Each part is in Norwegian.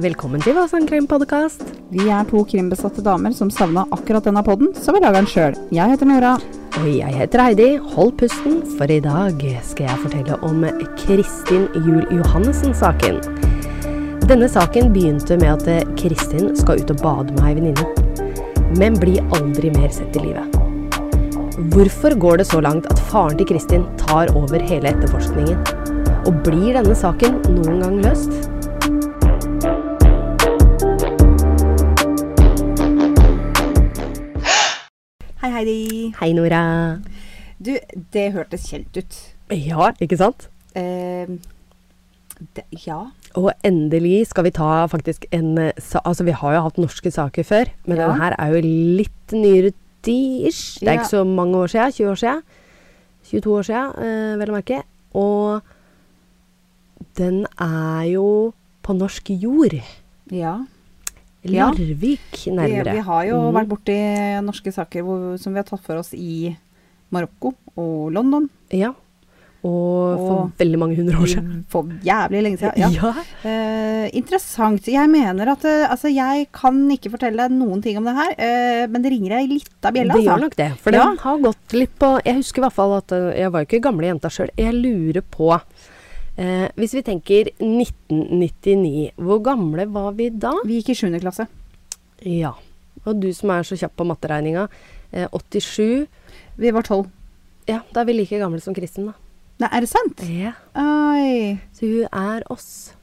Velkommen til Vasan krimpodkast. Vi er to krimbesatte damer som savna akkurat denne podden, så vi lager den sjøl. Jeg heter Nora. Og jeg heter Heidi. Hold pusten, for i dag skal jeg fortelle om Kristin Juel Johannessen-saken. Denne saken begynte med at eh, Kristin skal ut og bade med ei venninne, men blir aldri mer sett i live. Hvorfor går det så langt at faren til Kristin tar over hele etterforskningen? Og blir denne saken noen gang løst? Hei, Heidi. Hei, Nora. Du, det hørtes kjent ut. Ja, ikke sant? Eh, det, ja. Og endelig skal vi ta faktisk en eh, sa Altså, vi har jo hatt norske saker før, men Ja. den her er jo litt nyere tid-ish. Det er Ja. ikke så mange år siden. 20 år siden. 22 år siden, eh, vel å merke. Og den er jo på norsk jord. ja. Mhm. Ja. Larvik, Vi, nærmere. vi har jo Mm. vært borti norske saker hvor, som vi har tatt for oss i Marokko og London. Ja. Og for Og- veldig mange hundre år siden. Mm, For jævlig lenge siden. Ja. ja. Eh, interessant. Jeg mener at eh, Altså, jeg kan ikke fortelle deg noen ting om det her, eh, men det ringer ei lita bjelle, Det gjør altså. nok det. For Ja. den har gått litt på Jeg husker i hvert fall at eh, jeg var jo ikke gamle jenta sjøl. Jeg lurer på eh, Hvis vi tenker 1999, hvor gamle var vi da? Vi gikk i sjuende klasse. Ja. Og du som er så kjapp på matteregninga. Eh, 87. Vi var tolv. Ja, da er vi like gamle som Kristin, da. Nei, er det sant? Ja. Oi. Så hun er oss.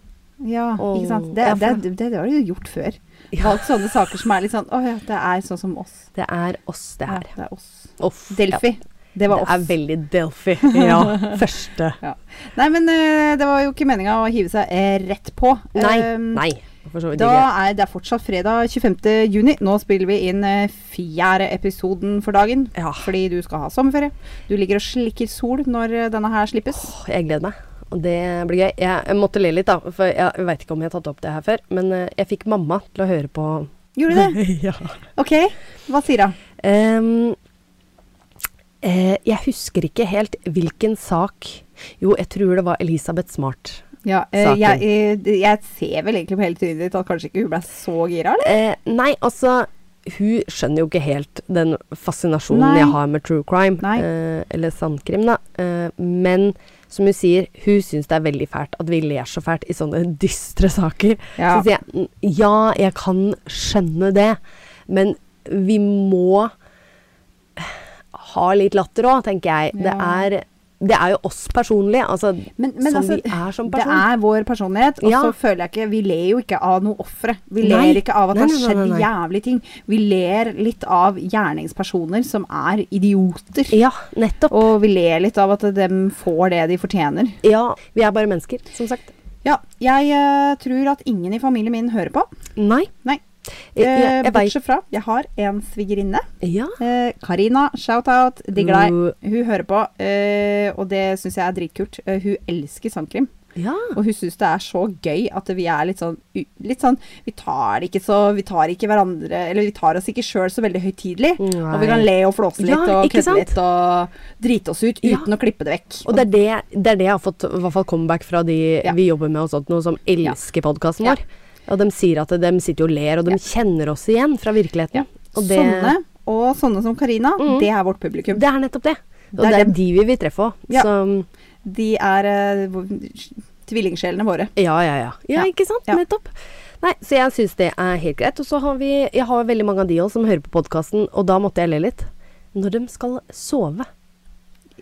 Ja, Åh, ikke sant. Det, ja, for det, det- det, det har du jo gjort før. Ja. Valgt sånne saker som er litt sånn Å ja, det er sånn som oss. Det er oss, det Ja, her. det er oss. Off, Delfi. Det var Det er oss. veldig Delphi. Ja. Første. Nei, men eh, det var jo ikke meninga å hive seg eh, rett på. Nei. Ehm, Nei. For så vidt Da ikke. er det er fortsatt fredag 25. juni. Nå spiller vi inn eh, fjerde episoden for dagen. Ja. Fordi du skal ha sommerferie. Du ligger og slikker sol når eh, denne her slippes. Åh, Jeg gleder meg. Og det blir gøy. Jeg, jeg måtte le litt, da. For jeg veit ikke om jeg har tatt opp det her før. Men eh, jeg fikk mamma til å høre på. Gjorde du det? ja. OK. Hva sier hun? Em, Ehm, eh, jeg husker ikke helt hvilken sak Jo, jeg tror det var Elisabeth Smart. Ja, eh, Saken. jeg, eh, jeg ser vel egentlig på hele trynet ditt at kanskje ikke hun ble så gira, eller? Eh, nei, altså Hun skjønner jo ikke helt den fascinasjonen Nei. jeg har med true crime. Nei. Eh, eller sandkrim, da. Eh, men som hun sier, hun syns det er veldig fælt at vi ler så fælt i sånne dystre saker. Ja. Så sier jeg "N- ja, jeg kan skjønne det, men vi må eh, ha litt latter òg, tenker jeg. Ja. Det, er, det er jo oss personlig, altså Men- men som altså, vi er som Det person. er vår personlighet, og Ja. så føler jeg ikke Vi ler jo ikke av noe ofre. Vi Nei. ler ikke av at Nei, det har nei, nei, nei, skjedd nei. jævlige ting. Vi ler litt av gjerningspersoner som er idioter. Ja, nettopp. Og vi ler litt av at dem får det de fortjener. Ja, vi er bare mennesker, som sagt. Ja, jeg eh, tror at ingen i familien min hører på. Nei. Nei. Jeg, Eh, jeg, jeg veit bortsett fra jeg har en svigerinne. Ja. Eh, Karina, shout-out. Digger deg. Uh, Hun hører på, eh, og det syns jeg er dritkult. Eh, hun elsker sandkrim. Ja. Og hun syns det er så gøy at vi er litt sånn, u- litt sånn Vi tar det ikke så Vi tar ikke hverandre Eller vi tar oss ikke sjøl så veldig høytidelig. Og vi kan le og flåse litt Ja, og ikke kødde sant? litt og drite oss ut Ja. uten å klippe det vekk. Og det er det, det er det jeg har fått i hvert fall comeback fra de Ja. vi jobber med, og sånt, noe som elsker podkasten vår. Og de sier at de sitter jo og ler, og de Ja. kjenner oss igjen fra virkeligheten. Ja. Og det, Sånne og sånne som Karina, Mm. det er vårt publikum. det er nettopp det. Og Det det er er, dem. de vi vil treffe òg. Ja. Så De er eh, hvor- tvillingsjelene våre. ja, ja, ja. Ja, Ja. ikke sant? Ja. Nettopp. Nei, så jeg syns det er helt greit. Og så har vi Jeg har veldig mange av de òg som hører på podkasten, og da måtte jeg le litt. Når de skal sove.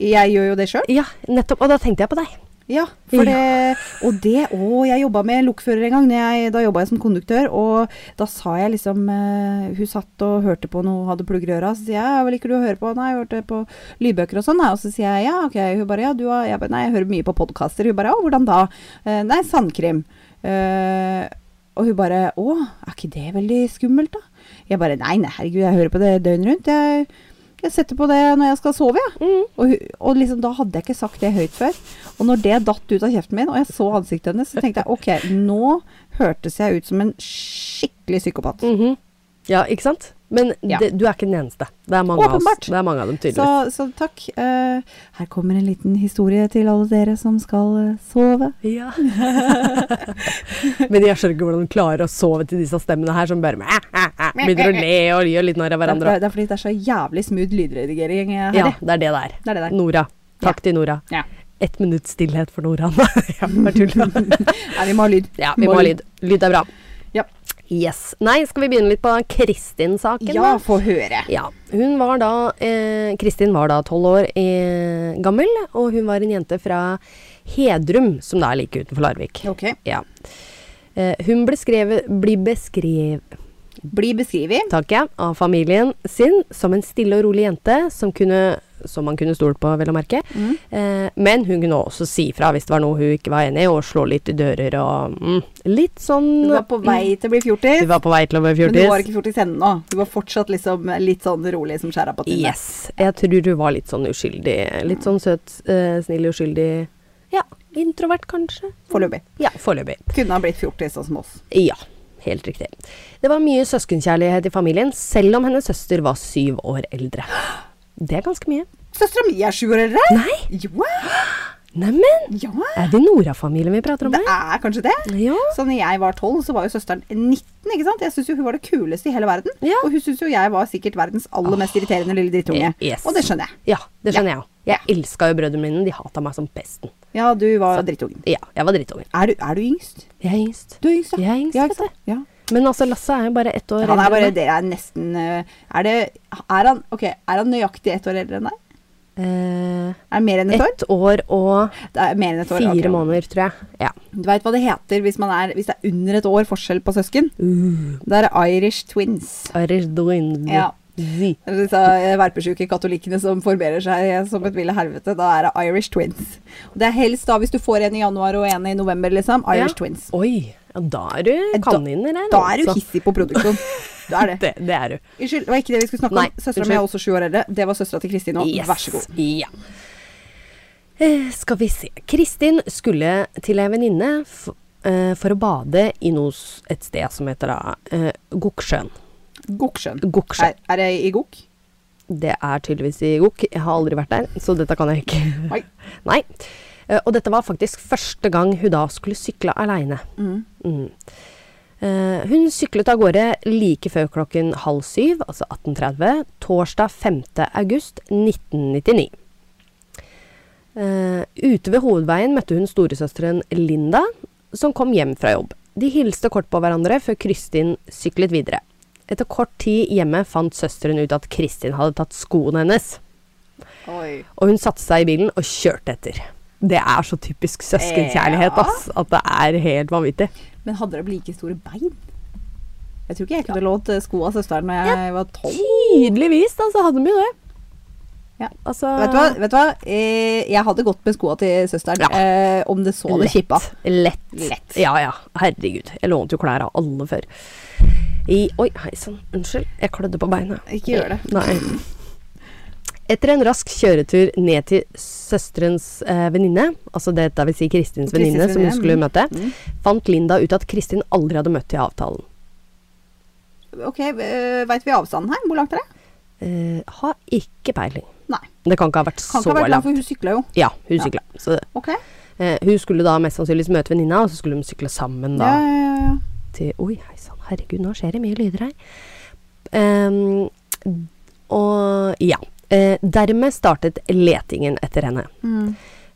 Jeg gjør jo det sjøl. Ja, nettopp. Og da tenkte jeg på deg. Ja, for Ja. det, og det Og jeg jobba med lokfører en gang. når Jeg, da jobba jeg som konduktør, og da sa jeg liksom eh, Hun satt og hørte på noe, hadde plugger i øra. Så sier jeg ja, hva liker du å høre på? Nei, jeg hørte på lydbøker og sånn. jeg». Og så sier jeg ja, ok. Hun bare ja, du har jeg bare, Nei, jeg hører mye på podkaster. Hun bare ja, hvordan da? «Eh, Nei, sandkrim. Eh, og hun bare å, er ikke det veldig skummelt, da? Jeg bare nei, nei, herregud, jeg hører på det døgnet rundt. Jeg, jeg setter på det når jeg skal sove, jeg. Mm. Og, hu- og liksom, da hadde jeg ikke sagt det høyt før. Og når det datt ut av kjeften min, og jeg så ansiktet hennes, så tenkte jeg ok, nå hørtes jeg ut som en skikkelig psykopat. Mm. Mhm. Ja, ikke sant? Men Ja. det, du er ikke den eneste. Det er mange, av oss. Åpenbart. Det er mange av dem, Så, tydeligvis. så takk. Eh, her kommer en liten historie til alle dere som skal eh, sove. Ja. Men jeg skjønner ikke hvordan de klarer å sove til disse stemmene her som bare begynner å le og gjør litt narr av Det er, hverandre. det er fordi det er så jævlig smooth lydredigering eh, her. Ja, jeg. det er det det er. Det er det der. Nora. Takk til Nora. Ja. Ett minutts stillhet for Nora. ja, bare tulla. Nei, vi må ha lyd. Ja, vi må ha lyd. Lyd er bra. Ja. Yes. Nei, skal vi begynne litt på Kristin-saken? ja, da? få høre. Ja, hun var da, eh, Kristin var da tolv år eh, gammel, og hun var en jente fra Hedrum, som da er like utenfor Larvik. Ok. Ja. Eh, hun ble, skrevet, blir beskrevet Bli beskrevet. takk jeg, av familien sin som en stille og rolig jente som, kunne, som man kunne stole på, vel å merke. Mm. Eh, men hun kunne også si fra hvis det var noe hun ikke var enig i, og slå litt i dører og mm, Litt sånn Du var på vei til å bli fjortis, Hun var på vei til å bli men du var fjortis. ikke fjortis ennå. Du var fortsatt liksom litt sånn rolig som skjæra på tinnet. Yes. Jeg tror du var litt sånn uskyldig. Litt sånn søt, eh, snill, uskyldig Ja, introvert kanskje? Foreløpig. Ja, foreløpig. Kunne ha blitt fjortis sånn som oss. Ja, helt riktig. Det var mye søskenkjærlighet i familien, selv om hennes søster var syv år eldre. Det er ganske mye. Søstera mi er sju år eldre! Nei! Jo, Neimen, ja. er det Nora-familien vi prater om Det her? er kanskje det. Ja. Så når jeg var tolv, så var jo søsteren 19. ikke sant? Jeg syns jo hun var det kuleste i hele verden. Ja. Og hun syns jo jeg var sikkert verdens aller mest irriterende lille drittunge. Eh, yes. Og det skjønner jeg. Ja, det skjønner jeg òg. Jeg Ja. elska jo brødrene mine, de hata meg som pesten. Ja, du var drittungen. Ja, jeg var drittungen. Er du, er du yngst? Jeg er yngst. Du er yngst, ja. Jeg er yngst, ja, vet ikke sant? Ja. Men altså, Lasse er jo bare ett år Han er enn bare meg. Det er nesten eh, Er det Er han, ok, er han nøyaktig ett år eldre enn deg? Eh, Er det mer enn et år? ett år og Det er mer enn et år. Fire ok. måneder, tror jeg. Ja. Du veit hva det heter hvis, man er, hvis det er under et år forskjell på søsken? Uh. Det er Irish twins. Ja. Eller Disse eh, verpesjuke katolikkene som formerer seg eh, som et ville helvete. Da er det Irish twins. Og det er helst da hvis du får en i januar og en i november, liksom. Irish twins. Eh, Oi, ja, da er du Da- kaniner her. Da er du altså. hissig på produksjon. Du er det. Det, det er du. Unnskyld, det var ikke det vi skulle snakke Nei, om. Søstera mi unnskyld. er også sju år eldre. Det var søstera til Kristin òg. Yes. Vær så god. Ja. Eh, skal vi se. Kristin skulle til ei venninne f- eh, for å bade i noe, s- et sted som heter da eh, Goksjøen. Goksjøen. Goksjøen. Er, er det i Gok? Det er tydeligvis i Gok. Jeg har aldri vært der, så dette kan jeg ikke. Oi. Nei. Eh, Og dette var faktisk første gang hun da skulle sykle aleine. Mm. Eh, Hun syklet av gårde like før klokken halv syv, altså 18.30, torsdag 5. august 1999. Eh, ute ved hovedveien møtte hun storesøsteren Linda, som kom hjem fra jobb. De hilste kort på hverandre før Kristin syklet videre. Etter kort tid hjemme fant søsteren ut at Kristin hadde tatt skoene hennes. Oi. Og hun satte seg i bilen og kjørte etter. Det er så typisk søskenkjærlighet, Ja. ass. At det er helt vanvittig. Men hadde de like store bein? Jeg tror ikke jeg kunne lånt eh, sko av søsteren når jeg var tolv. Tydeligvis, da, så hadde de jo det. Ja. Altså Vet du hva? Vet du hva? Eh, jeg hadde gått med skoa til søsteren Ja. eh, om det så hadde kippa. Lett. Lett. Ja ja. Herregud. Jeg lånte jo klær av alle før. I Oi, hei sann. Unnskyld. Jeg klødde på beinet. Ikke gjør det. Nei. Etter en rask kjøretur ned til søsterens eh, venninne, altså det da vil si Kristins Kristins venninne som hun venninne, skulle mm. møte, fant Linda ut at Kristin aldri hadde møtt i avtalen. Ok, uh, Veit vi avstanden her? Hvor langt er det? Eh, har ikke peiling. Nei. Det kan ikke ha vært Kan så ikke ha vært langt, langt. for hun sykla jo. Ja, hun Ja. sykla. Så, Ok. eh, hun skulle da mest sannsynligvis møte venninna, og så skulle de sykle sammen da. Ja, ja, ja, ja. til Oi, hei sann, herregud, nå skjer det mye lyder her. Ehm, og ja. Eh, dermed startet letingen etter henne. Mm.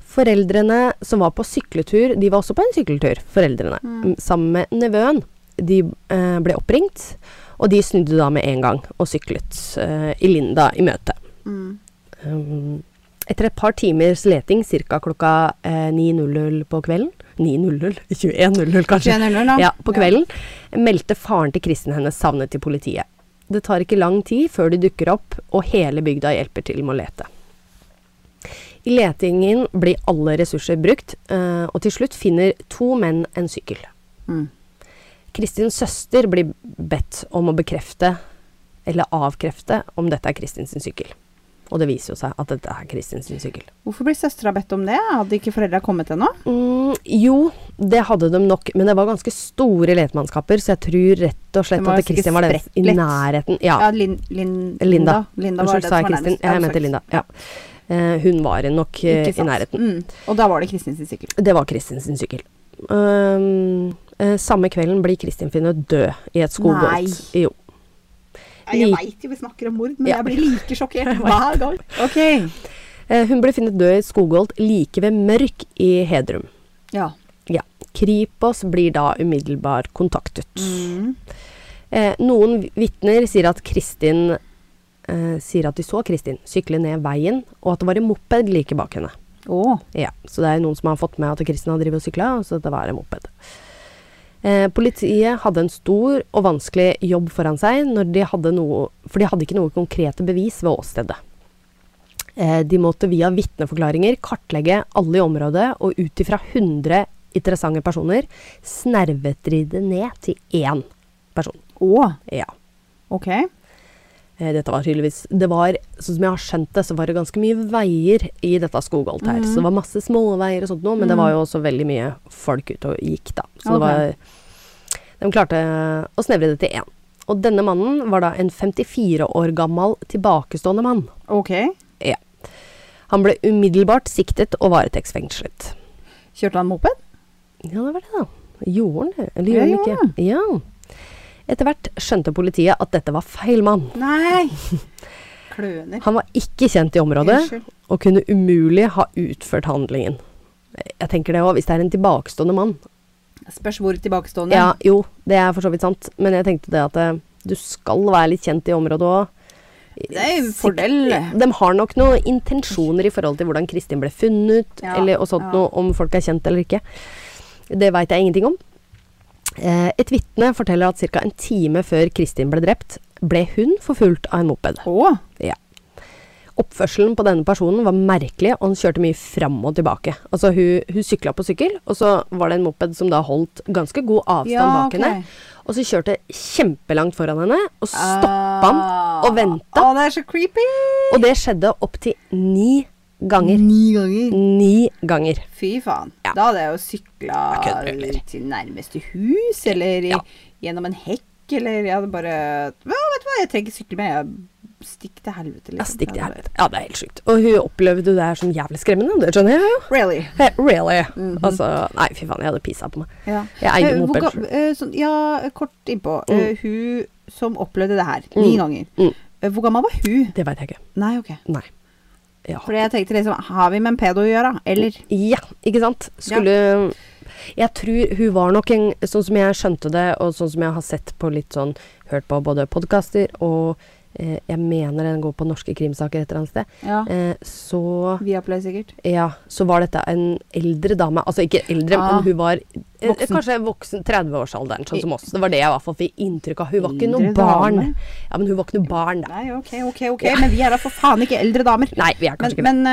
Foreldrene som var på sykletur, de var også på en sykletur, foreldrene, m, sammen med nevøen. De eh, ble oppringt, og de snudde da med en gang og syklet eh, i Linda i møte. Mm. Um, etter et par timers leting, ca. klokka eh, 9.00 på kvelden 9.00? 21.00, kanskje. 21.00, da. Ja, på kvelden meldte faren til Kristin hennes savnet til politiet. Det tar ikke lang tid før de dukker opp, og hele bygda hjelper til med å lete. I letingen blir alle ressurser brukt, eh, og til slutt finner to menn en sykkel. Mm. Kristins søster blir bedt om å bekrefte eller avkrefte om dette er Kristins sykkel. Og det viser jo seg at dette er Kristin sin sykkel. Hvorfor blir søstera bedt om det? Hadde ikke foreldra kommet ennå? Mm, jo, det hadde de nok, men det var ganske store letemannskaper, så jeg tror rett og Det slett var at ganske Kristin var den spredt i lett. nærheten. Ja, Ja, Lin, Lin, Linda. Linda var Unnskyld, sa det som jeg var Kristin? nærmest. Jeg mente Linda. Ja. Eh, hun var nok eh, Ikke i sant. nærheten. Mm. Og da var det Kristin sin sykkel. Det var Kristin sin sykkel. Um, eh, samme kvelden blir Kristin funnet død i et skogholt. Jo. Jeg veit jo vi snakker om mord, men jeg blir like sjokkert hver gang. Ok. Eh, hun ble funnet død i et skogholt like ved Mørk i Hedrum. Ja. Ja. Kripos blir da umiddelbart kontaktet. Mm. Eh, noen vitner sier at Kristin eh, sier at de så Kristin sykle ned veien, og at det var en moped like bak henne. Å, Ja, Så det er jo noen som har fått med at Kristin har drevet og sykla, og så det var en moped. Eh, politiet hadde en stor og vanskelig jobb foran seg, når de hadde noe, for de hadde ikke noe konkrete bevis ved åstedet. Eh, de måtte via vitneforklaringer kartlegge alle i området, og ut ifra 100 interessante personer snervetride ned til én person. Å, Ja. ok. Eh, Dette var tydeligvis Det var, sånn som jeg har skjønt det, så var det ganske mye veier i dette skogholtet her. Så det var Mm. masse småveier og sånt noe, men det var jo også veldig mye folk ute og gikk, da. Så Ok. det var De klarte å snevre det til én. Og denne mannen var da en 54 år gammel tilbakestående mann. Ok. Ja. Han ble umiddelbart siktet og varetektsfengslet. Kjørte han moped? Ja, det var det, da. Gjorde han det? Eller Ja, gjorde gjorde han ikke? Ja. Etter hvert skjønte politiet at dette var feil mann. Nei. Kløner. Han var ikke kjent i området. Unnskyld. og kunne umulig ha utført handlingen. Jeg tenker det òg, hvis det er en tilbakestående mann. Spørs hvor tilbakestående. Ja, jo, det er for så vidt sant, men jeg tenkte det at eh, du skal være litt kjent i området òg. Det er en fordel. De har nok noen intensjoner i forhold til hvordan Kristin ble funnet, Ja, eller, og sånt ja. noe, om folk er kjent eller ikke. Det veit jeg ingenting om. Eh, Et vitne forteller at ca. en time før Kristin ble drept, ble hun forfulgt av en moped. Å, Ja. Oppførselen på denne personen var merkelig, og han kjørte mye fram og tilbake. Altså, hun, hun sykla på sykkel, og så var det en moped som da holdt ganske god avstand Ja, bak ok. Ah. henne. Og så kjørte kjempelangt foran henne, og stoppa han og venta. Å, det er så creepy. Og det skjedde opptil ni ganger. Ni ganger. Ni ganger. Fy faen. Ja. Da hadde jeg jo Jeg kødder, sykla eller? til nærmeste hus, eller i, Ja. gjennom en hekk, eller jeg hadde bare ja, Vet du hva, jeg trenger ikke sykle mer. jeg- Stikk til helvete, liksom. Ja, stikk til Det er helvete. Ja, det er helt sjukt. Og hun opplevde det her som jævlig skremmende, det skjønner jeg jo. bare- Really. Eh, Really. Altså, nei, fy faen, jeg hadde pissa på meg. Mhm. Ja. Jeg eier Eh, hvor moped ga- selv. eh, sånn, ja, kort innpå. Eh, hun som opplevde det her ni ganger, Mm. eh, hvor gammel var hun? Det veit jeg ikke. Nei, ok. Nei. Ja. For jeg tenkte liksom, har vi med en pedo å gjøre, eller? Ja, ikke sant? Skulle Jeg tror hun var nok en Sånn som jeg skjønte det, og sånn som jeg har sett på litt sånn Hørt på både podkaster og eh, Jeg mener den går på norske krimsaker et eller annet sted. Ja. Eh, så Viaplay, sikkert. ja, så var dette en eldre dame. Altså ikke eldre, Ah. men hun var eh, Voksen. kanskje voksen 30-årsalderen, sånn som oss. Det var det jeg i hvert fall fikk inntrykk av. Hun var ikke Eldre noe barn. dame? Ja, men hun var ikke noe barn, da. Nei, ok, ok, ok. Men vi er da for faen ikke eldre damer. Nei, vi er Men, kanskje ikke det. men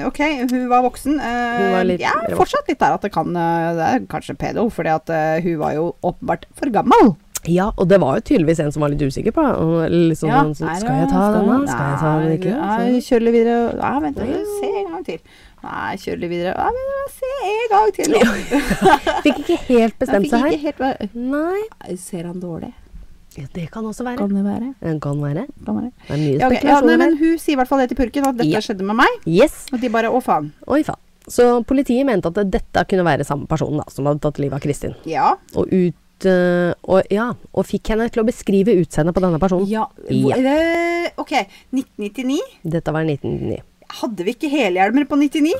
eh, OK, hun var voksen. eh, Hun var litt- jeg er fortsatt litt der at det kan eh, Det er kanskje pedo, fordi at eh, hun var jo åpenbart for gammel. Ja, og det var jo tydeligvis en som var litt usikker på og litt sånn, Ja, sånn, er det- sånn? Skal jeg ta denne? Skal jeg ta den Nei, ikke? Nei, Så- kjør litt videre. Nei, vent, litt, se en gang til. Nei, kjør litt videre. Nei, men se en gang til. Fikk ikke helt bestemt seg her. Jeg fikk ikke helt Nei. hva- Ser han dårlig? Ja, det kan også være. Kan det være? Det kan være. Kan det være? Det er mye Ja, ok, ja, nei, spekulasjoner men her. hun sier i hvert fall det til purken, at dette Ja. skjedde med meg. Yes. Og de bare å faen. Oi faen. Så politiet mente at dette kunne være samme person da, som hadde tatt livet av Kristin. Ja. Og, ut, eh, og, ja, og fikk henne til å beskrive utseendet på denne personen. ja. Ja. Hvor- eh, OK, 1999. Dette var i 1999. Hadde vi ikke helhjelmer på 99?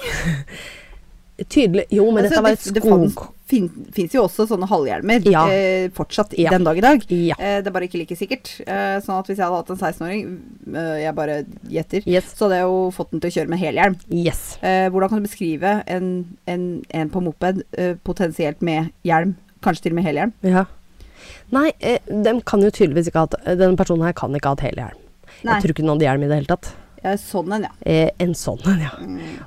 Tydelig Jo, men dette var et Altså, det, det fanns- skog... fin, finnes jo også sånne halvhjelmer Ja. eh, fortsatt i Ja. den dag i dag. Ja. Eh, det er bare ikke like sikkert. Eh, sånn at hvis jeg hadde hatt en 16-åring, eh, jeg bare gjetter, Yes. så hadde jeg jo fått den til å kjøre med helhjelm. Yes. Eh, hvordan kan du beskrive en, en, en på moped eh, potensielt med hjelm? Kanskje til og med helhjelm? Ja. Nei, eh, den kan jo tydeligvis ikke ha hatt eh, Denne personen her kan ikke ha hatt helhjelm. Nei. Jeg tror ikke den hadde hjelm i det hele tatt. Eh, sånn en, ja. Eh, en sånn en, ja.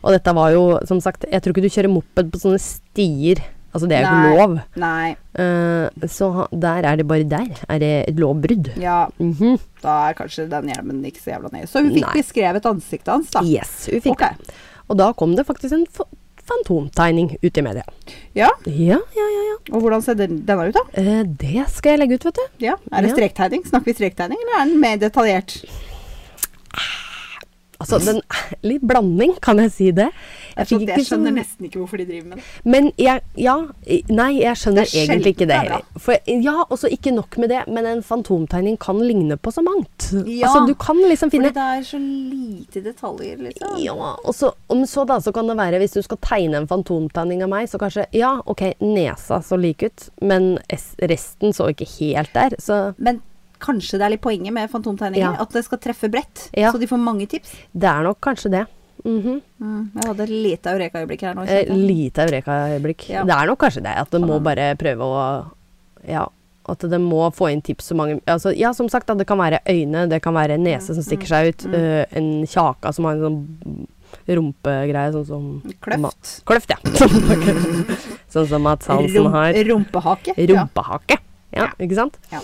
Og dette var jo, som sagt, jeg tror ikke du kjører moped på sånne stier Altså, det er jo Nei. ikke lov. Nei. Eh, så ha- der er det bare der. Er det et lovbrudd? Ja, Mhm. da er kanskje den hjelmen ikke så jævla nøye. Så hun fikk Nei. beskrevet ansiktet hans, da. Yes, hun fikk Ok. det. Og da kom det faktisk en fa- fantomtegning ut i media. Ja, Ja, ja, ja. ja. Og hvordan ser den, denne ut, da? Eh, det skal jeg legge ut, vet du. Ja, Er det Ja. strektegning? Snakker vi strektegning, eller er den mer detaljert? Altså, den, litt blanding, kan jeg si det. Jeg, fikk jeg sånn- skjønner nesten ikke hvorfor de driver med det. Men jeg, ja, i- nei, jeg skjønner Det er sjelden egentlig ikke det det er bra. heller. For, ja, også ikke nok med det, men en fantomtegning kan ligne på så mangt. Ja, altså, du kan liksom finne... Fordi det er så lite detaljer, liksom. Ja, og så, om så da, så kan det være hvis du skal tegne en fantomtegning av meg, så kanskje, ja, ok, nesa så lik ut, men es- resten så ikke helt der, så Men kanskje det er litt poenget med fantomtegninger? Ja. At det skal treffe bredt, Ja. så de får mange tips? det er nok kanskje det. Mhm. Mm, jeg hadde et lite eureka-øyeblikk her nå. Eh, kjente jeg. lite eureka-øyeblikk. Ja. Sånn Det er nok kanskje det, at det må bare prøve å Ja. At det må få inn tips så mange altså, Ja, som sagt, da, det kan være øyne, det kan være en nese som stikker seg Mm. ut, eh, en kjaka som har en sånn rumpegreie, sånn som Kløft. Kløft, ja. sånn som Mads Hansen Rump- har. Rumpehake. ja. Rumpehake. Ja, Ja. ikke sant? Ja.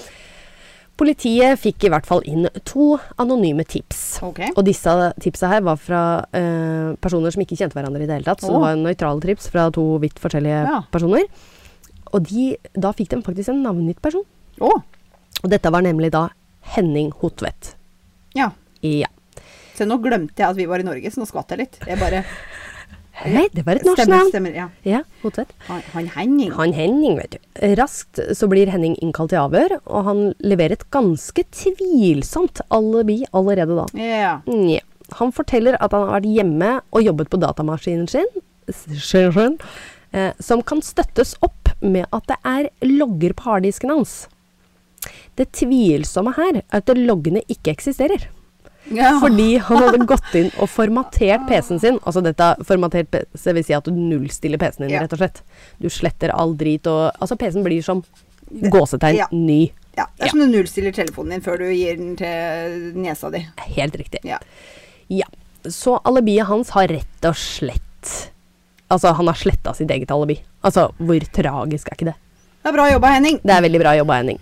Politiet fikk i hvert fall inn to anonyme tips. Ok. Og disse tipsa her var fra eh, personer som ikke kjente hverandre i det hele tatt. Så det Åh. var nøytrale tips fra to vidt forskjellige Ja. personer. Og de, da fikk de faktisk en navngitt person. Å! Og dette var nemlig da Henning Hotvedt. Ja. Ja. Se, nå glemte jeg at vi var i Norge, så nå skvatt jeg litt. Jeg bare Hei, det var et norsk Stemmer, navn. stemmer. Ja. Ja, Hotvedt. Han, han Henning. Han Henning, vet du. Raskt så blir Henning innkalt til avhør, og han leverer et ganske tvilsomt alibi allerede da. Ja. Nja. Han forteller at han har vært hjemme og jobbet på datamaskinen sin, s- sin, sin eh, som kan støttes opp med at det er logger på harddisken hans. Det tvilsomme her er at loggene ikke eksisterer. ja. Fordi han hadde gått inn og formatert PC-en sin. Altså dette formatert PC vil si at du nullstiller PC-en din, Ja. rett og slett. Du sletter all drit og Altså PC-en blir som gåsetegn Ja. ny. ja. Det er som du nullstiller telefonen din før du gir den til nesa di. Helt riktig. Ja. Ja. Så alibiet hans har rett og slett Altså, han har sletta sitt eget alibi. Altså, hvor tragisk er ikke det? Det er bra jobba, Henning. Det er veldig bra jobba, Henning.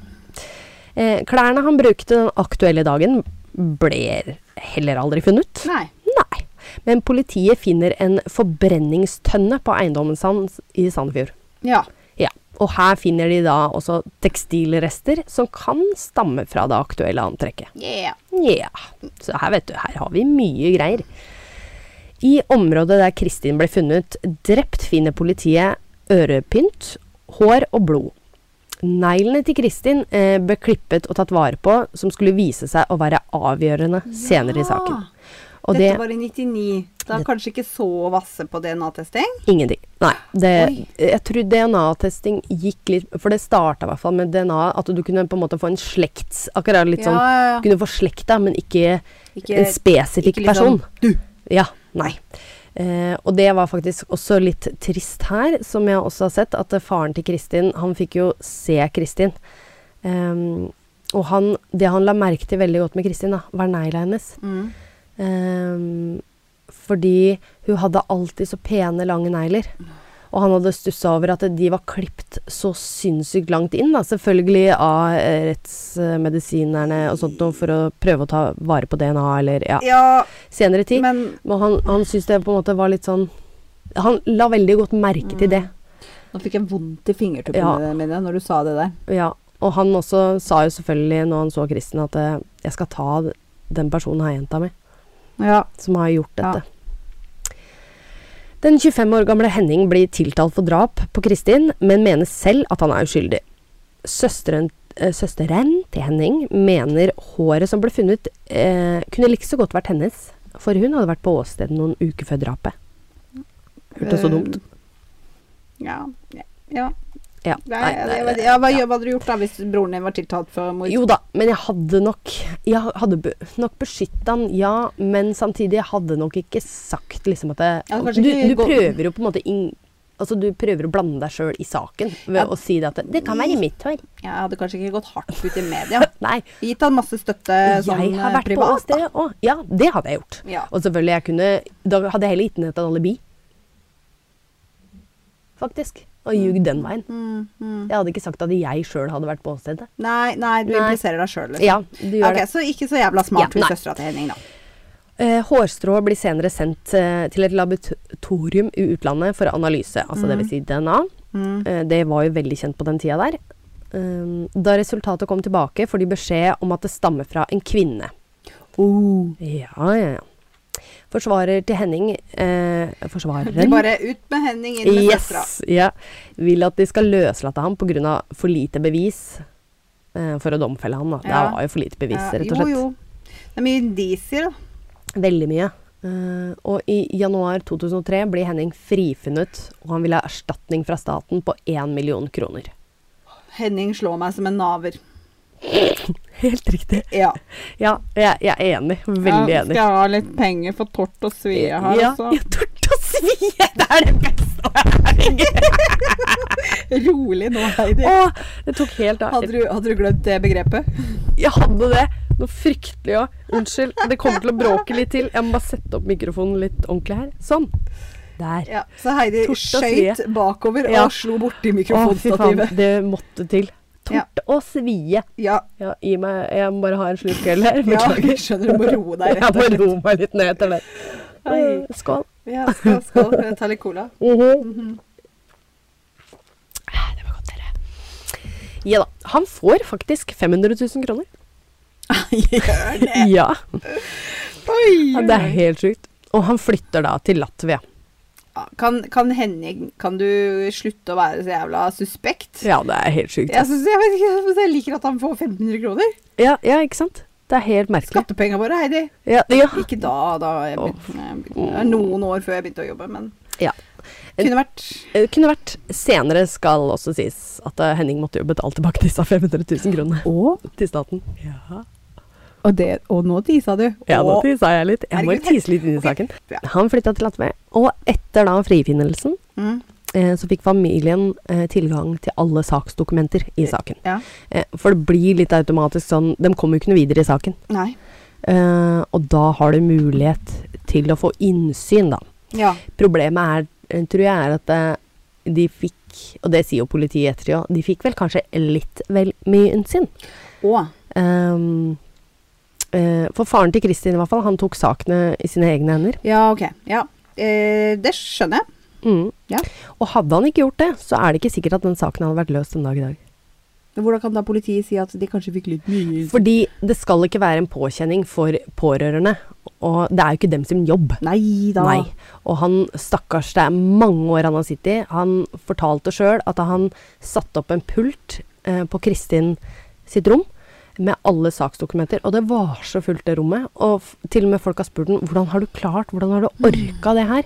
Eh, klærne han brukte den aktuelle dagen, ble heller aldri funnet. Nei. Nei. Men politiet finner en forbrenningstønne på eiendommen hans i Sandefjord. Ja. Ja. Og her finner de da også tekstilrester som kan stamme fra det aktuelle antrekket. Yeah. Nja, så her vet du, her har vi mye greier. I området der Kristin ble funnet drept, finner politiet ørepynt, hår og blod. Neglene til Kristin eh, ble klippet og tatt vare på, som skulle vise seg å være avgjørende senere i saken. Og Dette det var i 99. Da er kanskje ikke så vasse på DNA-testing? Ingenting. Nei. Det, Oi. jeg tror DNA-testing gikk litt For det starta i hvert fall med DNA, at du kunne på en måte få en slekts... Akkurat litt Ja, sånn ja, ja. Kunne få slekta, men ikke, Ikke- en spesifikk ikke liksom, person. Ja. Nei. Eh, og det var faktisk også litt trist her, som jeg også har sett, at eh, faren til Kristin, han fikk jo se Kristin. Ehm, og han, det han la merke til veldig godt med Kristin, da, var negla hennes. Mm. Ehm, fordi hun hadde alltid så pene, lange negler. Og han hadde stussa over at de var klipt så sinnssykt langt inn, da, selvfølgelig av eh, rettsmedisinerne og sånt noe, for å prøve å ta vare på DNA eller ja, Ja, senere tid. men Men han, han syntes det på en måte var litt sånn Han la veldig godt merke til det. Nå fikk jeg vondt i Ja. fingertuppene mine når du sa det der. Ja. Og han også sa jo selvfølgelig, når han så Kristin, at eh, 'jeg skal ta den personen her, jenta mi', Ja. som har gjort dette. Den 25 år gamle Henning blir tiltalt for drap på Kristin, men mener selv at han er uskyldig. Søsteren, eh, søsteren til Henning mener håret som ble funnet, eh, kunne like så godt vært hennes, for hun hadde vært på åstedet noen uker før drapet. Hørtes så Eh, dumt Ja. ja. Ja. Eh, nei, Nei, jeg- nei, jeg nei, vet- ja, hva ja. hva hadde du gjort da hvis broren din var tiltalt for mord? Jo da, men jeg hadde nok Jeg hadde be- nok beskyttet han, ja, men samtidig jeg hadde nok ikke sagt liksom at jeg, Ja, kanskje du, ikke du gå- prøver jo på en måte inn, Altså, du prøver å blande deg sjøl i saken ved Ja. å si det at det, 'Det kan være mitt hår'. Jeg hadde kanskje ikke gått hardt ut i media. Nei. Gitt han masse støtte Jeg sånn har eh, vært på privat. da. avstedet òg. Ja, det hadde jeg gjort. Ja. Og selvfølgelig, jeg kunne Da hadde jeg heller gitt henne et alibi. Faktisk. og ljugd den veien. Mm, mm. Jeg hadde ikke sagt at jeg sjøl hadde vært på åstedet. Nei, nei, du Nei. impliserer deg sjøl, liksom. Ja, du gjør Ok, det. Så ikke så jævla smart Ja, hun nei. søstera til Henning, da. Eh, hårstrå blir senere sendt eh, til et laboratorium i utlandet for analyse, altså det vil Si DNA. Mm. Eh, det var jo veldig kjent på den tida der. Um, da resultatet kom tilbake, får de beskjed om at det stammer fra en kvinne. Oh. Ja, ja, ja. Forsvarer til Henning eh, De Forsvareren bare ut med Henning, inn med yes, søstera. ja, vil at de skal løslate ham pga. for lite bevis eh, for å domfelle ham. Da. Ja. Det var jo for lite bevis, Ja, rett og slett. Jo, jo. Det er mye indisier, da. Veldig mye. Eh, og i januar 2003 blir Henning frifunnet, og han vil ha erstatning fra staten på 1 million kroner. Henning slår meg som en naver. Helt riktig. Ja. Ja, jeg, jeg er enig. Veldig Ja, enig. Skal jeg ha litt penger for tort og svie her, ja, altså? ja, tort og svie! Det er det beste! Herregud. Rolig nå, Heidi. Å, det tok helt av. Hadde du, hadde du glemt det begrepet? Jeg hadde det. Noe fryktelig òg. Unnskyld. Det kommer til å bråke litt til. Jeg må bare sette opp mikrofonen litt ordentlig her. Sånn. Der. Ja. Så Heidi Tort og svie. skøyt bakover Ja. og slo Å, fy borti faen. mikrofonstativet. Det måtte til. Ja. Tort og svie. Ja, Ja, gi meg Jeg må bare ha en slurk øl her. ja, Beklager. jeg skjønner du må roe Jeg deg rett må og slett. roe meg litt ned etter det. Mm, Oi. Skål. Mhm. Ja, skål, skål. Jeg tar litt cola. Mhm. Ah, Det var godt, dere. Ja da. Han får faktisk 500 000 kroner. Gjør det! Ja, Oi, ja det er helt sjukt. Og han flytter da til Latvia. Ja, Kan, kan Henning, kan du slutte å være så jævla suspekt? Ja, det er helt sjukt. Jeg, synes, jeg, vet ikke, jeg synes jeg liker at han får 1500 kroner. Ja, ja ikke sant? Det er helt merkelig. Skattepengene våre, Heidi. Ja, ja. Ikke da, da jeg begynte, jeg begynte, noen år før jeg begynte å jobbe, men Ja. kunne vært Det kunne vært senere, skal også sies, at eh, Henning måtte jo betale tilbake disse 500 000 kronene Og, til staten. Ja, nå tisa du. ja da tisa jeg litt. Jeg må Herregud. tise litt inn i saken. Ja. Han flytta til Latvia, og etter da frifinnelsen Mm, eh, så fikk familien eh, tilgang til alle saksdokumenter i saken. ja. Eh, for det blir litt automatisk sånn De kommer jo ikke noe videre i saken. Nei. Eh, og da har du mulighet til å få innsyn, da. Ja. Problemet er, eh, tror jeg, er at eh, de fikk og det sier jo politiet etter, ja. De fikk vel kanskje litt vel mye innsyn. Og. Ehm, eh, for faren til Kristin, i hvert fall, han tok sakene i sine egne hender. Ja, ok. Ja. Eh, det skjønner jeg. Mm. Ja. Og hadde han ikke gjort det, så er det ikke sikkert at den saken hadde vært løst en dag i dag. Men hvordan kan da politiet si at de kanskje fikk litt mye Fordi det skal ikke være en påkjenning for pårørende, og det er jo ikke dem sin jobb. Nei da. Nei. Og han stakkars, det er mange år han har sittet i. Han fortalte sjøl at han satte opp en pult eh, på Kristin sitt rom med alle saksdokumenter, og det var så fullt det rommet. Og f til og med folk har spurt ham hvordan har du klart, hvordan har Mm. du orka det her?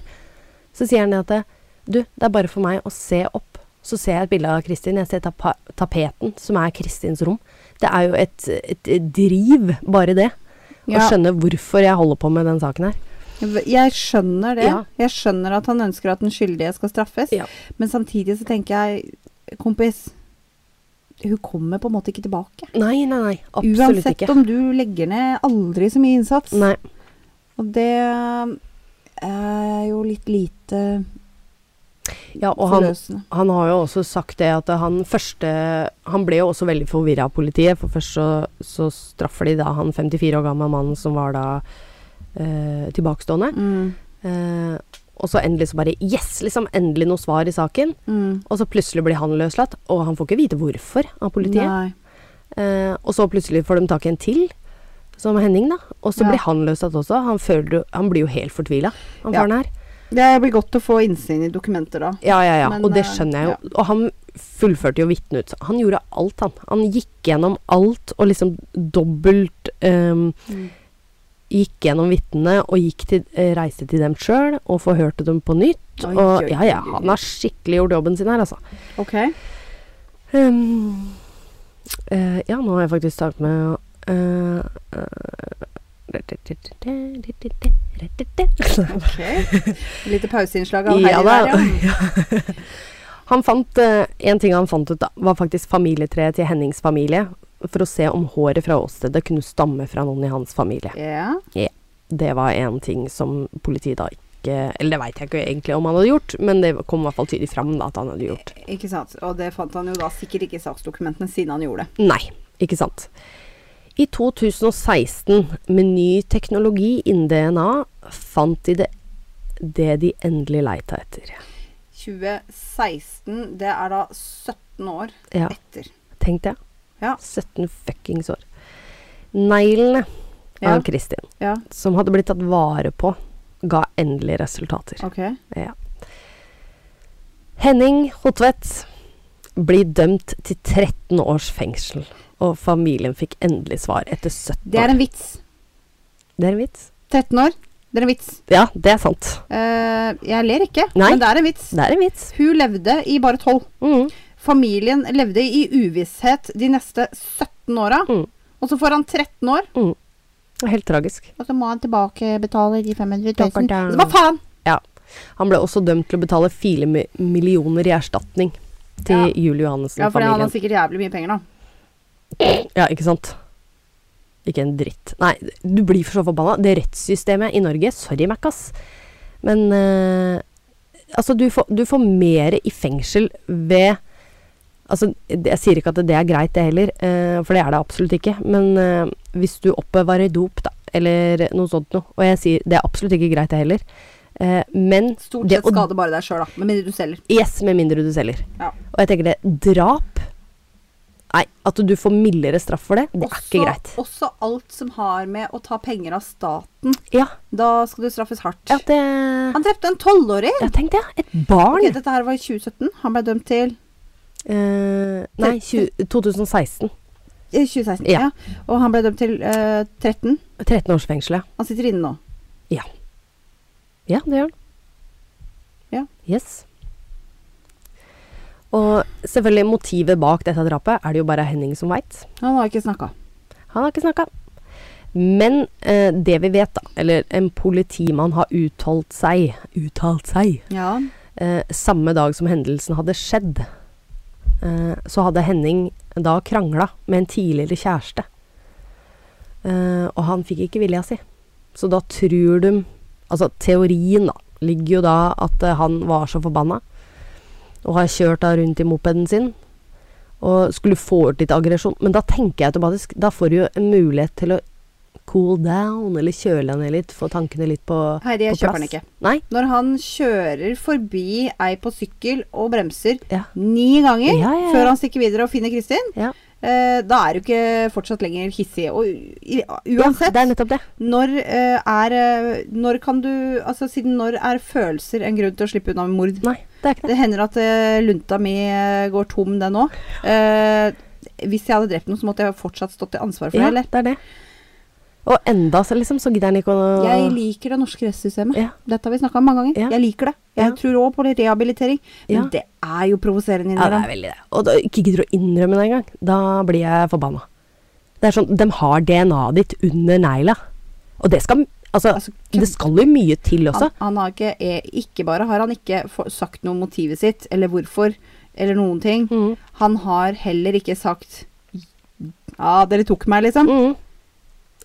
Så sier han det at det, du, det er bare for meg å se opp. Så ser jeg et bilde av Kristin. Jeg ser tapa tapeten, som er Kristins rom. Det er jo et, et, et driv, bare det. Å Ja. skjønne hvorfor jeg holder på med den saken her. Jeg skjønner det. Ja. Jeg skjønner at han ønsker at den skyldige skal straffes. Ja. Men samtidig så tenker jeg Kompis, hun kommer på en måte ikke tilbake. Nei, nei, nei. Absolutt Uansett ikke. om du legger ned aldri så mye innsats. Nei. Og det eh, er jo litt lite Ja, og han, forløsende. han har jo også sagt det at han første Han ble jo også veldig forvirra av politiet, for først så, så straffer de da han 54 år gamle mannen som var da eh, tilbakestående. Mm, Eh, og så endelig så bare Yes! Liksom endelig noe svar i saken. mm. Og så plutselig blir han løslatt, og han får ikke vite hvorfor av politiet. Nei. Eh, og så plutselig får de tak i en til, som Henning, da. Og så Ja. blir han løslatt også. Han, føler, jo- han blir jo helt fortvila, han Ja. faren her. Det blir godt å få innsyn i dokumenter da. Ja, ja, ja. Men, og det eh, skjønner jeg jo. Og han fullførte jo vitneut. Han gjorde alt, han. Han gikk gjennom alt og liksom dobbelt ehm, Mm. Gikk gjennom vitnene og gikk til, eh, reiste til dem sjøl og forhørte dem på nytt. Oi, og oi, ja, ja, oi, oi. han har skikkelig gjort jobben sin her, altså. Ok. Ehm, eh, ja, nå har jeg faktisk startet med å eh, eh, okay. Lite pauseinnslag av Ja Heidi da. der, ja. Han fant, eh, En ting han fant ut, da, var faktisk familietreet til Hennings familie. For å se om håret fra åstedet kunne stamme fra noen i hans familie. Ja. Det var en ting som politiet da ikke Eller det veit jeg ikke egentlig om han hadde gjort, men det kom i hvert fall tydelig fram da, at han hadde gjort. Ikke sant. Og det fant han jo da sikkert ikke i saksdokumentene siden han gjorde det. Nei, ikke sant. I 2016, med ny teknologi innen DNA, fant de det, det de endelig leita etter. 2016, det er da 17 år Ja, etter. tenk det. Ja. 17 fuckings år. Neglene Ja. av Kristin, Ja, som hadde blitt tatt vare på, ga endelige resultater. ok. Ja. Henning Hotvedt blir dømt til 13 års fengsel, og familien fikk endelig svar etter 17 år. Det er en vits. det er en vits. 13 år, det er en vits. Ja, det er sant. Eh, jeg ler ikke, Nei. men det er en vits. Det er en vits. Hun levde i bare 12. Mm. Familien levde i uvisshet de neste 17 åra. Mm. Og så får han 13 år, Det er Helt tragisk. og så må han tilbakebetale de 500 Stakkars 000. deg. Så Hva faen? Han ble også dømt til å betale fire mi- millioner i erstatning til Ja. Julie Ja, for han har Johannessen-familien. sikkert jævlig mye penger, da. Ja, ikke sant? Ikke en dritt. Nei, du blir for så forbanna. Det rettssystemet i Norge Sorry, Mac-ass. Men eh, altså, du får, du får mer i fengsel ved Altså, det- jeg sier ikke at det er greit, det heller, eh, for det er det absolutt ikke. Men eh, hvis du oppbevarer dop, da, eller noe sånt noe, og jeg sier det er absolutt ikke greit, det heller, eh, men Stort Det- sett skader bare deg sjøl, da. Med mindre du selger. Yes, med mindre du selger. Ja. Og jeg tenker det, drap Nei, at du får mildere straff for det, det er ikke greit. Også alt som har med å ta penger av staten. Ja, Da skal du straffes hardt. ja det Han drepte en tolvåring! Ja, tenk det. Et barn. Ok, dette her var i 2017. Han ble dømt til Eh, nei, 20, 2016. eh, 2016. Ja. Ja. Og han ble dømt til eh, 13. 13 års fengsel, ja. Han sitter inne nå. Ja, det gjør han. Ja. Yes. Og selvfølgelig, motivet bak dette drapet er det jo bare Henning som veit. Han har ikke snakka. Han har ikke snakka. Men eh, det vi vet, da, eller en politimann har uttalt seg Uttalt seg? Ja. Eh, samme dag som hendelsen hadde skjedd, eh, så hadde Henning da krangla med en tidligere kjæreste. Eh, og han fikk ikke vilja si. Så da tror de Altså, teorien da, ligger jo da at eh, han var så forbanna og har kjørt da rundt i mopeden sin og skulle få ut litt aggresjon. Men da tenker jeg automatisk Da får du jo en mulighet til å cool down, eller kjøle deg ned litt, få tankene litt på Heidi, jeg På kjøper plass. den ikke. Nei? Når han kjører forbi ei på sykkel og bremser Ja. ni ganger Ja, ja, ja. før han stikker videre og finner Kristin, Ja. eh, da er du ikke fortsatt lenger hissig. Og u- i- ja uansett det er nettopp det. Når eh, er eh, Når kan du Altså, siden når er følelser en grunn til å slippe unna med mord? Nei, det er ikke det. Det hender at eh, lunta mi eh, går tom, den òg. hvis jeg hadde drept noen, så måtte jeg fortsatt stått til ansvar for det, Ja, eller? det er det. Og enda så liksom, så gidder han ikke å Jeg liker det norske rettssystemet. Ja. Dette har vi snakka om mange ganger. Ja. Jeg liker det. Jeg Ja. tror òg på det rehabilitering. Men Ja. det er jo provoserende Ja, det innimellom. er veldig det. Og da, ikke gidder å innrømme det engang. Da blir jeg forbanna. Det er sånn, De har DNA-et ditt under negla. Og det skal altså, Altså, hvem- Det skal jo mye til også. han, han har ikke, eh, ikke bare har han ikke få- sagt noe om motivet sitt, eller hvorfor, eller noen ting. Mm. Han har heller ikke sagt Ja, dere tok meg, liksom. Mm.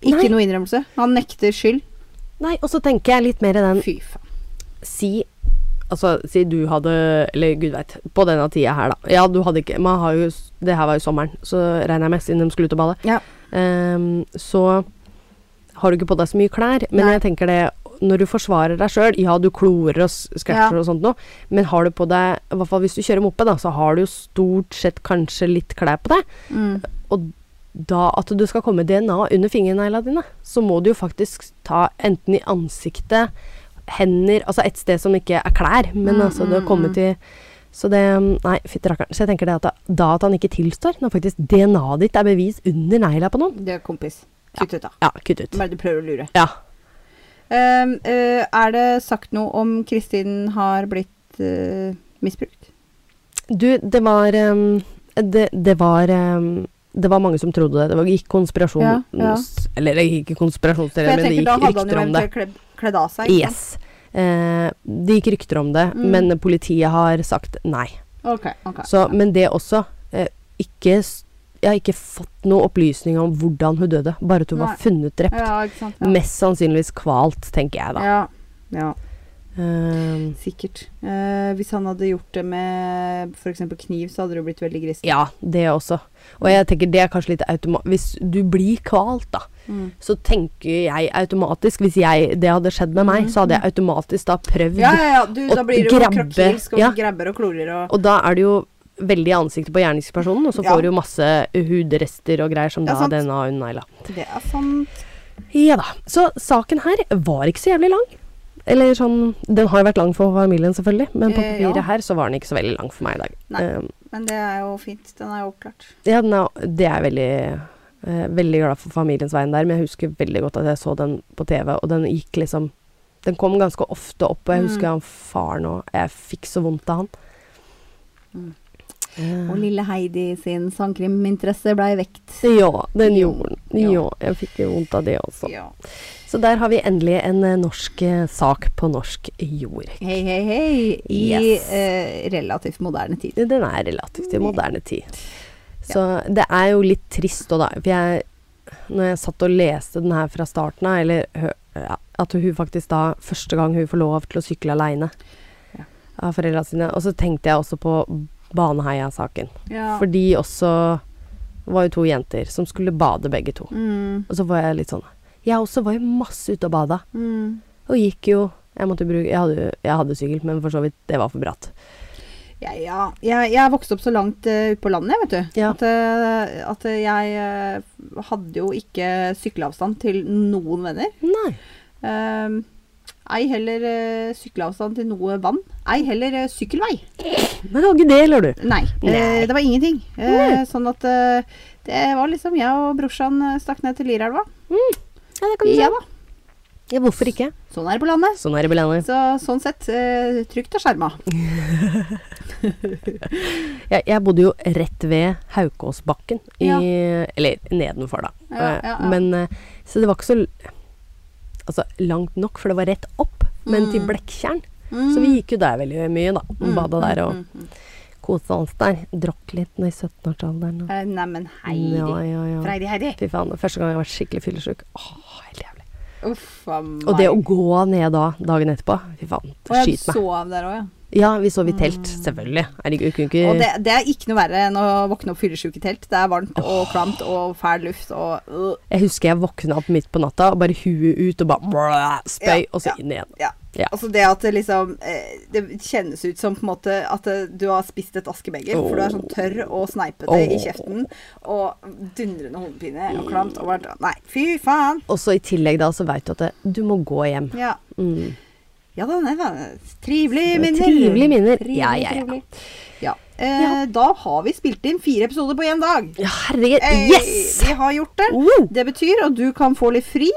Ikke Nei. noe innrømmelse. Han nekter skyld. Nei, og så tenker jeg litt mer i den Fy faen. Si Altså, si du hadde Eller gud veit, på denne tida her, da. Ja, du hadde ikke Man har jo s- Det her var jo sommeren, så regner jeg med, siden de skulle ut og bade. Ja. Ehm, så har du ikke på deg så mye klær. Men Nei. jeg tenker det når du forsvarer deg sjøl, ja, du klorer og s- scratcher Ja. og sånt noe, men har du på deg I hvert fall hvis du kjører moppe, da, så har du jo stort sett kanskje litt klær på deg. Mm. Og da at du skal komme DNA under fingernegla dine, så må du jo faktisk ta enten i ansiktet, hender Altså et sted som ikke er klær, men Mm, altså det å mm, komme mm. til så det Nei, fytti rakkeren. Så jeg tenker det at da- da at han ikke tilstår, når faktisk DNA-et ditt er bevis under negla på noen Det er kompis. Kutt ut, da. Ja, kutt ut. Bare du prøver å lure. Ja. Ehm, eh, er det sagt noe om Kristin har blitt eh, misbrukt? Du, det var ehm, det, det var ehm, det var mange som trodde det. Det var, gikk konspirasjon Ja, ja. Eller det gikk ikke For konspirasjonsteorier, Eh, jeg men det tenker Da gikk hadde han jo rykter om det. eventuelt kledd, kledd av seg. ikke sant? Yes. Eh, det gikk rykter om det, Mm. men politiet har sagt nei. Ok, ok. Så, men det også eh, ikke, s- Jeg har ikke fått noen opplysning om hvordan hun døde, bare at hun var Nei. funnet drept. ja, ikke sant? Ja. Mest sannsynligvis kvalt, tenker jeg da. Ja. ja. Eh, Sikkert. Eh, hvis han hadde gjort det med f.eks. kniv, så hadde det jo blitt veldig grisen. ja, det også. Og jeg tenker det er kanskje litt automa... Hvis du blir kvalt, da, Mm. så tenker jeg automatisk Hvis jeg, det hadde skjedd med meg, så hadde jeg automatisk da prøvd. Mm. Ja, ja, ja. Du, Og da blir det jo grabbe. krakilsk og Ja. grabber og klorer og Og da er det jo veldig i ansiktet på gjerningspersonen, og så Ja. får du jo masse hudrester og greier som Ja, da sant. denne negla. Det er sant. Ja da. Så saken her var ikke så jævlig lang. Eller sånn Den har jo vært lang for familien, selvfølgelig, men på Eh, ja. papiret her så var den ikke så veldig lang for meg i dag. Nei. Eh, Men det er jo fint. Den er jo oppklart. ja, den er, det er jeg veldig eh, Veldig glad for familiens veien der, men jeg husker veldig godt at jeg så den på TV, og den gikk liksom Den kom ganske ofte opp, og jeg Mm. husker han faren òg Jeg fikk så vondt av han. Mm. Eh. Og lille Heidi sin sangkriminteresse blei vekt. Ja, den Jo. gjorde den. Ja. Ja, jeg fikk jo vondt av det også. Ja. Så der har vi endelig en eh, norsk eh, sak på norsk jord. Hei, hei, hei. I Yes. eh, relativt moderne tid. Den er relativt i moderne tid. Så det er jo litt trist òg, da. For jeg, når jeg satt og leste den her fra starten av, eller hø- ja, at hun faktisk da Første gang hun får lov til å sykle aleine Ja. av foreldra sine. Og så tenkte jeg også på Baneheia-saken. Ja. For de også var jo to jenter som skulle bade begge to. Mm, Og så var jeg litt sånn Jeg også var jo masse ute og bada. mm. Og gikk jo Jeg måtte bruke Jeg hadde, jo- jeg hadde sykkel, men for så vidt, det var for bratt. Ja, ja. Jeg, jeg vokste opp så langt eh, ute på landet, jeg, vet du. Ja. At, eh, at jeg eh, hadde jo ikke sykleavstand til noen venner. Nei. Ehm, ei heller eh, sykleavstand til noe vann. Ei heller eh, sykkelvei. Men det var ikke det, eller du? Nei. Nei. Mm. Eh, det var ingenting. Eh, sånn at eh, det var liksom jeg og brorsan eh, stakk ned til Lirelva. Ja, det Ja da. Ja, hvorfor ikke? Sånn er det på landet. Sånn er det belandet. Så sånn sett eh, trygt og skjerma. Jeg, jeg bodde jo rett ved Haukåsbakken i Ja. Eller nedenfor, da. Ja, ja, ja. Men eh, Så det var ikke så l- Altså langt nok, for det var rett opp, men til Mm. Blekkjern. Så vi gikk jo der veldig mye, da. Mm, Bada der og mm, mm, mm. kosa oss der. Drakk litt nå i 17-årsalderen. og- Eh, Neimen, Heidi. Ja, ja, ja. Freidi Heidi. Fy faen, første gang jeg var skikkelig fyllesyk. Åh, helt jævlig. Uff a meg. Og det å gå ned da, dagen etterpå, fy faen, Og jeg skyt meg. sov der òg, ja. Ja, vi sov i telt, selvfølgelig. Herregud, kunne Og det, ikke det er ikke noe verre enn å våkne opp fyllesyk i telt. Det er varmt og klamt og fæl luft og øh. Jeg husker jeg våkna opp midt på natta, og bare huet ut, og bare brrr, spøy, Ja, og så ja. inn igjen. Ja. Ja. Altså det at det liksom eh, Det kjennes ut som på en måte at eh, du har spist et askebeger, for du er sånn tørr og sneipete i Åh. kjeften. Og dundrende hodepine og klamt. Og varmt. Nei, fy faen! Og så i tillegg da, så veit du at det, du må gå hjem. Ja, Mm. ja da, nei da. Det er Trivelige minner. trivelige minner. Trivelig, Ja, ja, ja. trivelig. Ja. Eh, Da har vi spilt inn fire episoder på én dag. Ja, herregud. Eh, Yes! Vi har gjort det. Wow. Det betyr at du kan få litt fri.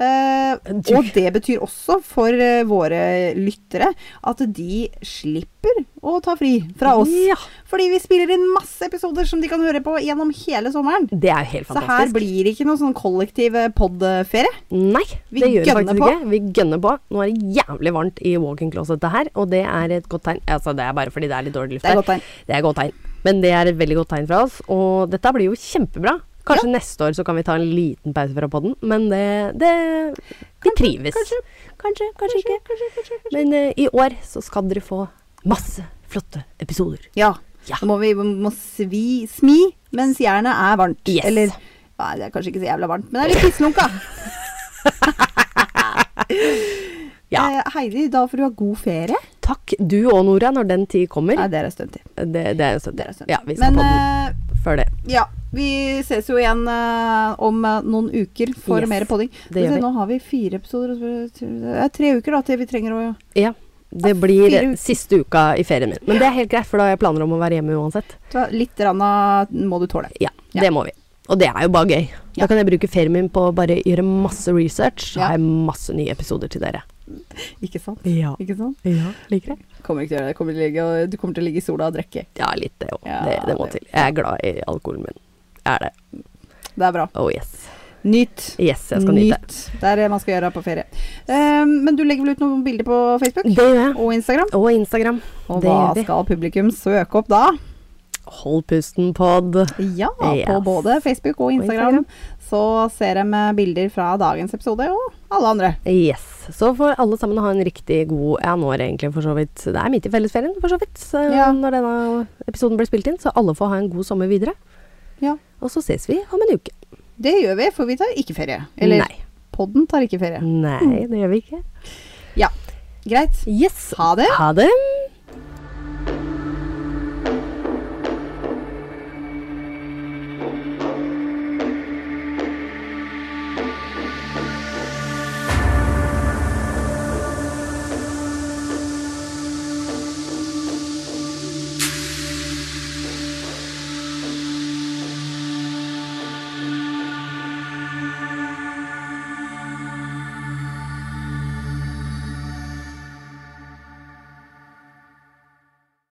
eh, Du. og det betyr også for eh, våre lyttere at de slipper å ta fri fra oss. Ja. Fordi vi spiller inn masse episoder som de kan høre på gjennom hele sommeren. Det er jo helt Så her fantastisk. blir det ikke noen sånn kollektiv podferie. Nei, Vi det gjør vi gønner faktisk på. ikke. Vi gønner på. Nå er det jævlig varmt i walk-in-closetet her, og det er et godt tegn. Altså, det er bare fordi det er litt dårlig luft Det er her. godt tegn. Det er et godt tegn. Men det er et veldig godt tegn fra oss, og dette blir jo kjempebra. Kanskje neste år så kan vi ta en liten pause fra podden, men det, det Vi trives. Kanskje, kanskje, ikke. Men eh, i år så skal dere få masse flotte episoder. Ja. Ja. Da må vi må svi, smi mens jernet er varmt. Yes. Eller Nei, det er kanskje ikke så jævla varmt, men det er litt pisslunka. Ja. Eh, Heidi, da får du ha god ferie. Takk du og Nora når den tid kommer. Nei, det er en stund til. Det, det er jo sånn. Det er en stund. Ja, vi skal Men podde eh, før det. Ja, vi ses jo igjen eh, om eh, noen uker for Yes, mer podding. det gjør Men se, vi. Nå har vi fire episoder, og så blir det det er tre uker da, til vi trenger å Ja. Det blir fire uker. siste uka i ferien min. Men det er helt greit, for da har jeg planer om å være hjemme uansett. ta Litt rann av må du tåle. Ja, Ja. det må vi. Og det er jo bare gøy. Ja. Da kan jeg bruke ferien min på å bare gjøre masse research, så Ja. har jeg masse nye episoder til dere. Ikke sant? Ja. Ikke sant? liker jeg. Kommer ikke til å gjøre det. Kommer til å ligge, og- du kommer til å ligge i sola og drikke. Ja, litt det òg. Ja, det, det må det- til. Jeg er glad i alkoholen min. Er det. Det er bra. Oh yes. Nyt. Yes, jeg skal nyte. Det er det man skal gjøre på ferie. Eh, men du legger vel ut noen bilder på Facebook Det gjør jeg. og Instagram? Og Instagram. Og det hva gjør vi. skal publikum søke opp da? Hold pusten-pod. Ja, på Yes. både Facebook og Instagram. Instagram. Så ser de eh, bilder fra dagens episode og alle andre. Yes. Så får alle sammen ha en riktig god Ja, nå er det egentlig for så vidt Det er midt i fellesferien, for så vidt, så Ja. når denne episoden blir spilt inn. Så alle får ha en god sommer videre. Ja, Og så ses vi om en uke. Det gjør vi, for vi tar ikke ferie. Eller Nei. Mm. podden tar ikke ferie. Nei, det gjør vi ikke. Ja, greit. Yes. Ha det. Ha det.